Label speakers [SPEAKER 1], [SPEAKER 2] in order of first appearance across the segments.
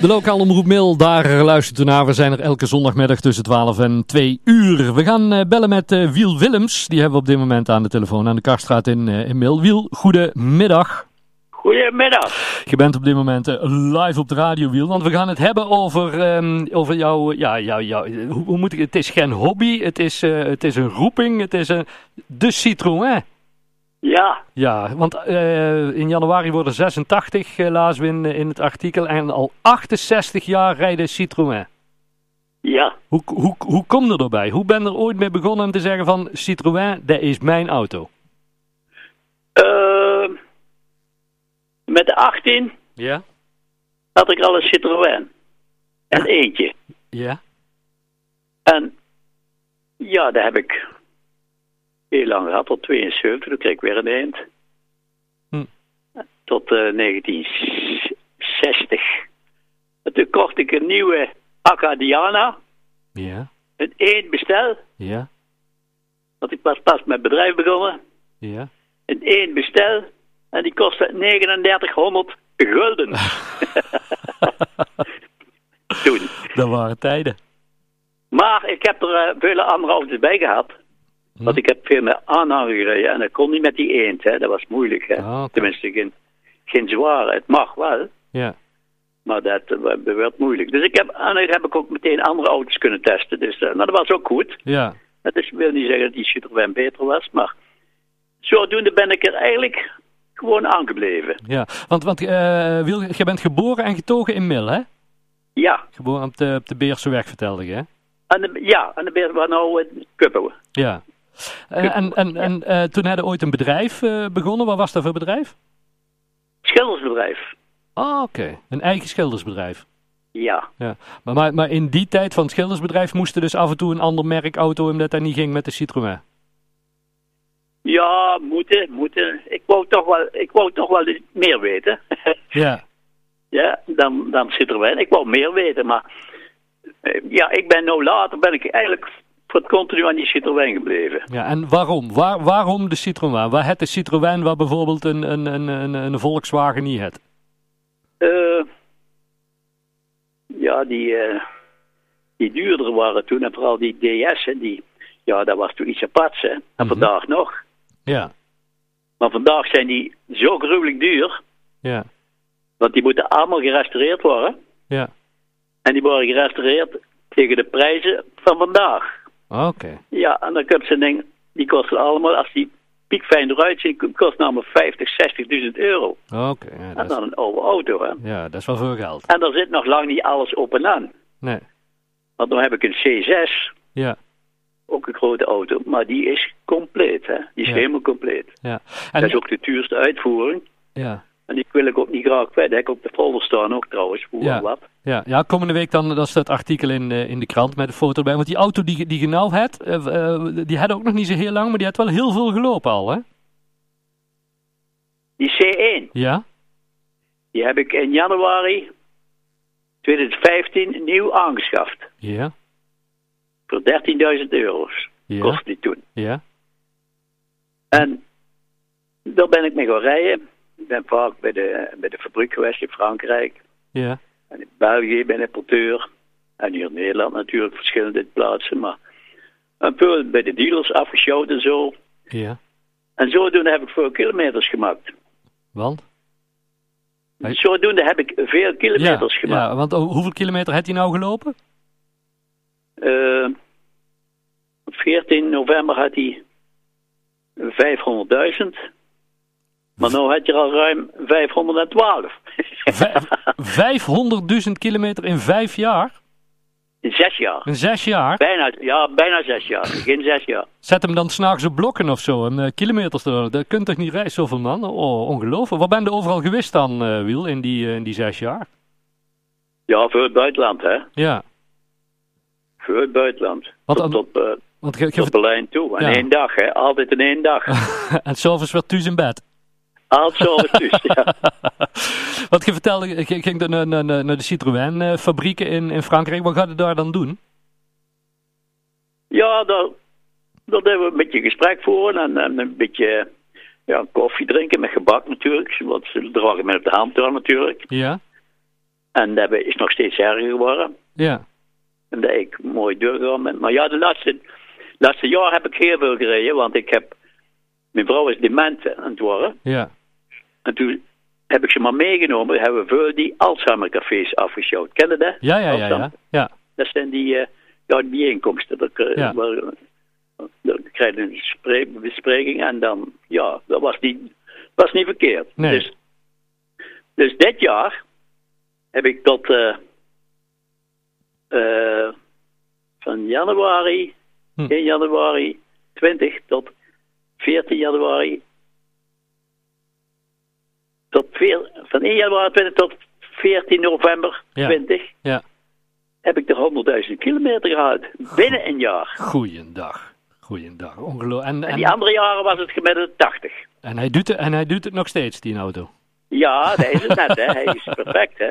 [SPEAKER 1] De lokale omroep Mail, daar luistert u naar. We zijn er elke zondagmiddag tussen 12 en 2 uur. We gaan eh, bellen met eh, Wiel Willems. Die hebben we op dit moment aan de telefoon aan de Karstraat in, eh, in Mail. Wiel, goedemiddag.
[SPEAKER 2] Goedemiddag.
[SPEAKER 1] Je bent op dit moment eh, live op de radio, Wiel. Want we gaan het hebben over, ehm, over jouw... Ja, jou, jou, hoe, hoe moet ik, het is geen hobby, het is, eh, het is een roeping, het is een, de Citroën.
[SPEAKER 2] Ja,
[SPEAKER 1] Ja, want eh, in januari worden 86, eh, lazen we in, in het artikel. En al 68 jaar rijden Citroën.
[SPEAKER 2] ja.
[SPEAKER 1] Hoe, hoe, hoe kom je erbij? Hoe ben je er ooit mee begonnen om te zeggen van Citroën, dat is mijn auto?
[SPEAKER 2] Eh, met de 18
[SPEAKER 1] Ja?
[SPEAKER 2] had ik al een Citroën. En eentje.
[SPEAKER 1] Ja?
[SPEAKER 2] En ja, daar heb ik heel lang gehad, tot 72. Toen kreeg ik weer een eend.
[SPEAKER 1] Hm.
[SPEAKER 2] Tot eh, 1960. En toen kocht ik een nieuwe Acadiana.
[SPEAKER 1] Ja?
[SPEAKER 2] Een eendbestel.
[SPEAKER 1] Ja?
[SPEAKER 2] Want ik was pas met bedrijf begonnen.
[SPEAKER 1] Ja?
[SPEAKER 2] in één bestel. En die kostte 3900 gulden. Toen.
[SPEAKER 1] Dat waren tijden.
[SPEAKER 2] Maar ik heb er eh, vele andere auto's bij gehad.
[SPEAKER 1] Hm?
[SPEAKER 2] Want ik heb veel met aanhanger gereden. En dat kon niet met die eend. Hè. Dat was moeilijk. Hè.
[SPEAKER 1] Ah, oké.
[SPEAKER 2] Tenminste, geen, geen zware. Het mag wel.
[SPEAKER 1] Ja.
[SPEAKER 2] Maar dat eh, werd moeilijk. Dus ik heb, en dan heb ik ook meteen andere auto's kunnen testen. Dus eh, nou, dat was ook goed.
[SPEAKER 1] Ja.
[SPEAKER 2] Dat is, wil niet zeggen dat die Citroën beter was. Maar zodoende ben ik er eigenlijk gewoon aangebleven.
[SPEAKER 1] Ja. Want, want eh, Wiel, je bent geboren en getogen in Mil, hè?
[SPEAKER 2] Ja.
[SPEAKER 1] Geboren op de, op de Beerse weg, vertelde je, hè?
[SPEAKER 2] En de, ja, en de beer waar nou uh, kuppen.
[SPEAKER 1] Ja. Eh, en en, en eh, toen hadden ooit een bedrijf eh, begonnen. Wat was dat voor bedrijf?
[SPEAKER 2] Schildersbedrijf.
[SPEAKER 1] Ah, oké. Een eigen schildersbedrijf.
[SPEAKER 2] Ja.
[SPEAKER 1] Ja. Maar, maar, maar in die tijd van het schildersbedrijf moest er dus af en toe een ander merk auto omdat dat niet ging met de Citroën.
[SPEAKER 2] Ja, moeten, moeten. Ik wou toch wel, ik wou toch wel iets meer weten.
[SPEAKER 1] Ja.
[SPEAKER 2] ja, dan, dan zit er wel. Ik wou meer weten, maar... eh, Ja, ik ben nou later, ben ik eigenlijk voor het continu aan die Citroën gebleven.
[SPEAKER 1] ja. En waarom? Waar, waarom de Citroën? Waar het de Citroën waar bijvoorbeeld een, een, een, een, een Volkswagen niet het?
[SPEAKER 2] Eh, ja, die, eh, die duurder waren toen, en vooral die DS, en die, ja, dat was toen iets aparts, hè. En vandaag nog.
[SPEAKER 1] Ja.
[SPEAKER 2] Maar vandaag zijn die zo gruwelijk duur,
[SPEAKER 1] Ja.
[SPEAKER 2] Want die moeten allemaal gerestaureerd worden.
[SPEAKER 1] Ja.
[SPEAKER 2] En die worden gerestaureerd tegen de prijzen van vandaag.
[SPEAKER 1] Oké.
[SPEAKER 2] Ja, en dan kun je ding, die kosten allemaal, als die piekfijn eruit zien, kost namelijk 50, 60.000 euro.
[SPEAKER 1] Oké. Ja,
[SPEAKER 2] En
[SPEAKER 1] dat is,
[SPEAKER 2] dan een oude auto, hè.
[SPEAKER 1] ja, dat is wel veel geld.
[SPEAKER 2] En daar zit nog lang niet alles op en aan.
[SPEAKER 1] Nee.
[SPEAKER 2] Want dan heb ik een C6,
[SPEAKER 1] Ja.
[SPEAKER 2] ook een grote auto, maar die is compleet, hè. Die is
[SPEAKER 1] Ja.
[SPEAKER 2] helemaal compleet.
[SPEAKER 1] Ja.
[SPEAKER 2] Dat is
[SPEAKER 1] En,
[SPEAKER 2] ook de duurste uitvoering.
[SPEAKER 1] ja.
[SPEAKER 2] En die wil ik ook niet graag kwijt. Dat heb ik op de folder staan ook trouwens, hoe
[SPEAKER 1] Ja.
[SPEAKER 2] en wat.
[SPEAKER 1] Ja, ja, komende week dan, dat is dat artikel in, eh, in de krant met een foto bij. Want die auto die, die je nou had, eh, eh, die had ook nog niet zo heel lang, maar die had wel heel veel gelopen al, hè?
[SPEAKER 2] Die C1,
[SPEAKER 1] Ja?
[SPEAKER 2] Die heb ik in januari 2015 nieuw aangeschaft.
[SPEAKER 1] Ja?
[SPEAKER 2] Voor 13.000 euro's.
[SPEAKER 1] Ja?
[SPEAKER 2] Kost die toen.
[SPEAKER 1] Ja?
[SPEAKER 2] En daar ben ik mee gaan rijden. Ik ben vaak bij de, bij de fabriek geweest in Frankrijk.
[SPEAKER 1] Ja?
[SPEAKER 2] En in België ben ik porteur. En hier in Nederland natuurlijk verschillende plaatsen. Maar een veel bij de dealers afgesjouwd en zo.
[SPEAKER 1] Ja?
[SPEAKER 2] En zodoende heb ik veel kilometers gemaakt.
[SPEAKER 1] Want? Hey.
[SPEAKER 2] Zodoende heb ik veel
[SPEAKER 1] Ja,
[SPEAKER 2] kilometers gemaakt.
[SPEAKER 1] ja, want hoe- hoeveel kilometer had hij nou gelopen?
[SPEAKER 2] Eh, op 14 november had hij 500.000. Maar nu had je al ruim 512.
[SPEAKER 1] Vijf- 500.000 kilometer in vijf jaar?
[SPEAKER 2] In zes jaar.
[SPEAKER 1] In zes jaar?
[SPEAKER 2] Bijna, ja, bijna zes jaar. Geen zes jaar.
[SPEAKER 1] Zet hem dan s'nachts op blokken of zo, en eh, kilometers te Dat kunt toch niet reizen, zoveel man? Oh, ongelooflijk. Waar ben je overal geweest dan, eh, Wiel, in die, eh, in die zes jaar?
[SPEAKER 2] Ja, voor het buitenland, hè.
[SPEAKER 1] Ja,
[SPEAKER 2] Voor het buitenland.
[SPEAKER 1] Wat
[SPEAKER 2] tot,
[SPEAKER 1] dan-
[SPEAKER 2] tot, eh,
[SPEAKER 1] want je, je
[SPEAKER 2] tot Berlijn toe. En
[SPEAKER 1] Ja.
[SPEAKER 2] één dag, hè. Altijd in één dag.
[SPEAKER 1] En s'avonds werd thuis in bed.
[SPEAKER 2] Altijd zo dus, ja.
[SPEAKER 1] Wat je vertelde, je ging dan naar, naar- naar- naar de Citroën-fabrieken in, in Frankrijk. Wat gaat het daar dan doen?
[SPEAKER 2] Ja, daar, daar deden we een beetje gesprek voor. En, en een beetje ja, koffie drinken met gebak natuurlijk. Want ze dragen mij op de hand door natuurlijk.
[SPEAKER 1] Ja,
[SPEAKER 2] En dat is nog steeds erger geworden.
[SPEAKER 1] Ja.
[SPEAKER 2] En dat ik mooi doorgegaan ben. Maar ja, de laatste, laatste jaar heb ik heel veel gereden, want ik heb... Mijn vrouw is dement aan het worden.
[SPEAKER 1] Ja.
[SPEAKER 2] En toen heb ik ze maar meegenomen. Hebben we veel die Alzheimercafés afgesjouwd. Ken je dat?
[SPEAKER 1] Ja, ja, ja, ja.
[SPEAKER 2] Alzheimer.
[SPEAKER 1] Ja.
[SPEAKER 2] Dat zijn die, eh ja, die bijeenkomsten. Daar, k-
[SPEAKER 1] Ja.
[SPEAKER 2] waar, daar krijg je een spre- bespreking en dan, ja, dat was niet, was niet verkeerd.
[SPEAKER 1] Nee.
[SPEAKER 2] Dus, dus dit jaar heb ik tot eh, eh, van januari,
[SPEAKER 1] Hm.
[SPEAKER 2] 1 januari 20 tot 14 januari. Tot veer- van 1 januari 20 tot 14 november
[SPEAKER 1] Ja.
[SPEAKER 2] 20
[SPEAKER 1] ja.
[SPEAKER 2] heb ik er 100.000 kilometer gehaald. Binnen een jaar.
[SPEAKER 1] Goeiedag. Goeiedag. Ongelooflijk. En,
[SPEAKER 2] En die
[SPEAKER 1] en,
[SPEAKER 2] andere jaren was het gemiddeld 80.
[SPEAKER 1] en, hij doet, het- en hij doet het nog steeds, die auto.
[SPEAKER 2] Ja, dat is het net, hè. Hij is perfect, hè.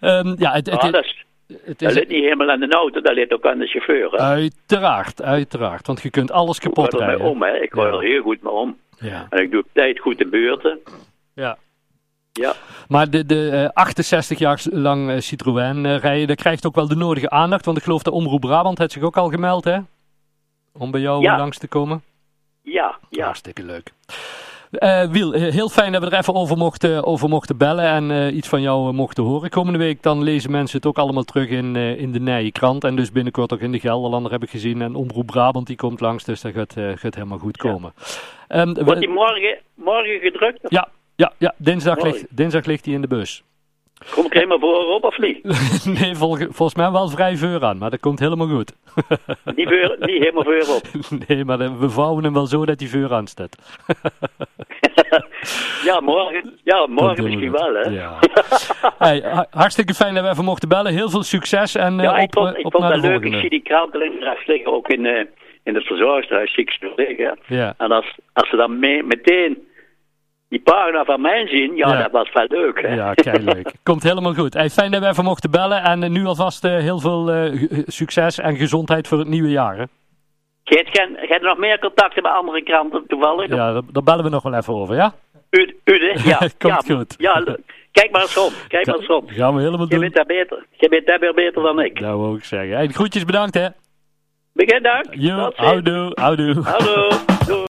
[SPEAKER 1] Ehm, ja, het, het,
[SPEAKER 2] Ja, Ah, dat,
[SPEAKER 1] is-
[SPEAKER 2] is,
[SPEAKER 1] het
[SPEAKER 2] dat
[SPEAKER 1] is Ah,
[SPEAKER 2] ligt niet helemaal aan de auto, dat ligt ook aan de chauffeur. Hè.
[SPEAKER 1] uiteraard, uiteraard. Want je kunt alles
[SPEAKER 2] Ik hoor
[SPEAKER 1] kapot
[SPEAKER 2] er mee
[SPEAKER 1] rijden.
[SPEAKER 2] om, hè. Ik hoor
[SPEAKER 1] Ja.
[SPEAKER 2] er heel goed mee om.
[SPEAKER 1] Ja.
[SPEAKER 2] En ik doe op tijd goed de beurten.
[SPEAKER 1] ja.
[SPEAKER 2] Ja,
[SPEAKER 1] Maar de, de eh, 68 jaar lang eh, Citroën eh, rijden, dat krijgt ook wel de nodige aandacht. Want ik geloof dat Omroep Brabant het zich ook al gemeld, hè? Om bij jou
[SPEAKER 2] Ja.
[SPEAKER 1] eh, langs te komen.
[SPEAKER 2] ja, ja.
[SPEAKER 1] Hartstikke leuk. Eh, Wiel, eh, heel fijn dat we er even over mochten, over mochten bellen en eh, iets van jou eh, mochten horen. Komende week dan lezen mensen het ook allemaal terug in, eh, in de Nije Krant. En dus binnenkort ook in de Gelderlander heb ik gezien. En Omroep Brabant die komt langs, dus dat gaat, eh, gaat helemaal goed komen. En we-
[SPEAKER 2] Wordt die morgen, morgen gedrukt?
[SPEAKER 1] ja, ja, ja dinsdag,
[SPEAKER 2] Mooi.
[SPEAKER 1] ligt, dinsdag ligt hij in de bus.
[SPEAKER 2] Kom ik helemaal voor op of niet?
[SPEAKER 1] nee, volg- volgens mij wel vrij veur aan, maar dat komt helemaal goed.
[SPEAKER 2] Niet, voor- niet helemaal voor op.
[SPEAKER 1] nee, maar dan- we vouwen hem wel zo dat hij veur aan staat.
[SPEAKER 2] Ja, morgen, ja, morgen misschien wel, hè.
[SPEAKER 1] Ja. Hey, ha- hartstikke fijn dat we even mochten bellen. Heel veel succes en eh,
[SPEAKER 2] Ja,
[SPEAKER 1] op,
[SPEAKER 2] ik
[SPEAKER 1] eh,
[SPEAKER 2] vond, ik
[SPEAKER 1] op
[SPEAKER 2] vond
[SPEAKER 1] naar
[SPEAKER 2] dat
[SPEAKER 1] de
[SPEAKER 2] leuk. Ik
[SPEAKER 1] volgende.
[SPEAKER 2] zie die krant alleen rechts liggen, ook in, eh, in het verzorgingshuis zie ik ze liggen.
[SPEAKER 1] Ja.
[SPEAKER 2] En als, als ze dan mee- meteen die pagina van mij zien, ja,
[SPEAKER 1] Ja.
[SPEAKER 2] dat was wel leuk. Hè?
[SPEAKER 1] Ja, kei leuk. Komt helemaal goed. Hey, fijn dat we even mochten bellen en eh, nu alvast eh, heel veel eh, ge- succes en gezondheid voor het nieuwe jaar. Hè?
[SPEAKER 2] Geet geen- Gij hebt nog meer contacten met andere kranten toevallig?
[SPEAKER 1] Ja, daar, daar bellen we nog wel even over, ja?
[SPEAKER 2] U, Ude? Ja.
[SPEAKER 1] Komt
[SPEAKER 2] ja,
[SPEAKER 1] goed.
[SPEAKER 2] Ja, le- kijk maar eens om. Kijk maar eens om.
[SPEAKER 1] Gaan we helemaal
[SPEAKER 2] Je
[SPEAKER 1] doen.
[SPEAKER 2] bent daar beter. Je bent daar weer beter dan ik.
[SPEAKER 1] Dat wou ik zeggen. Hey, groetjes bedankt, hè?
[SPEAKER 2] Begin dank.
[SPEAKER 1] Jo,
[SPEAKER 2] Tot ziens.
[SPEAKER 1] houdoe, houdoe.
[SPEAKER 2] Hallo. Doei.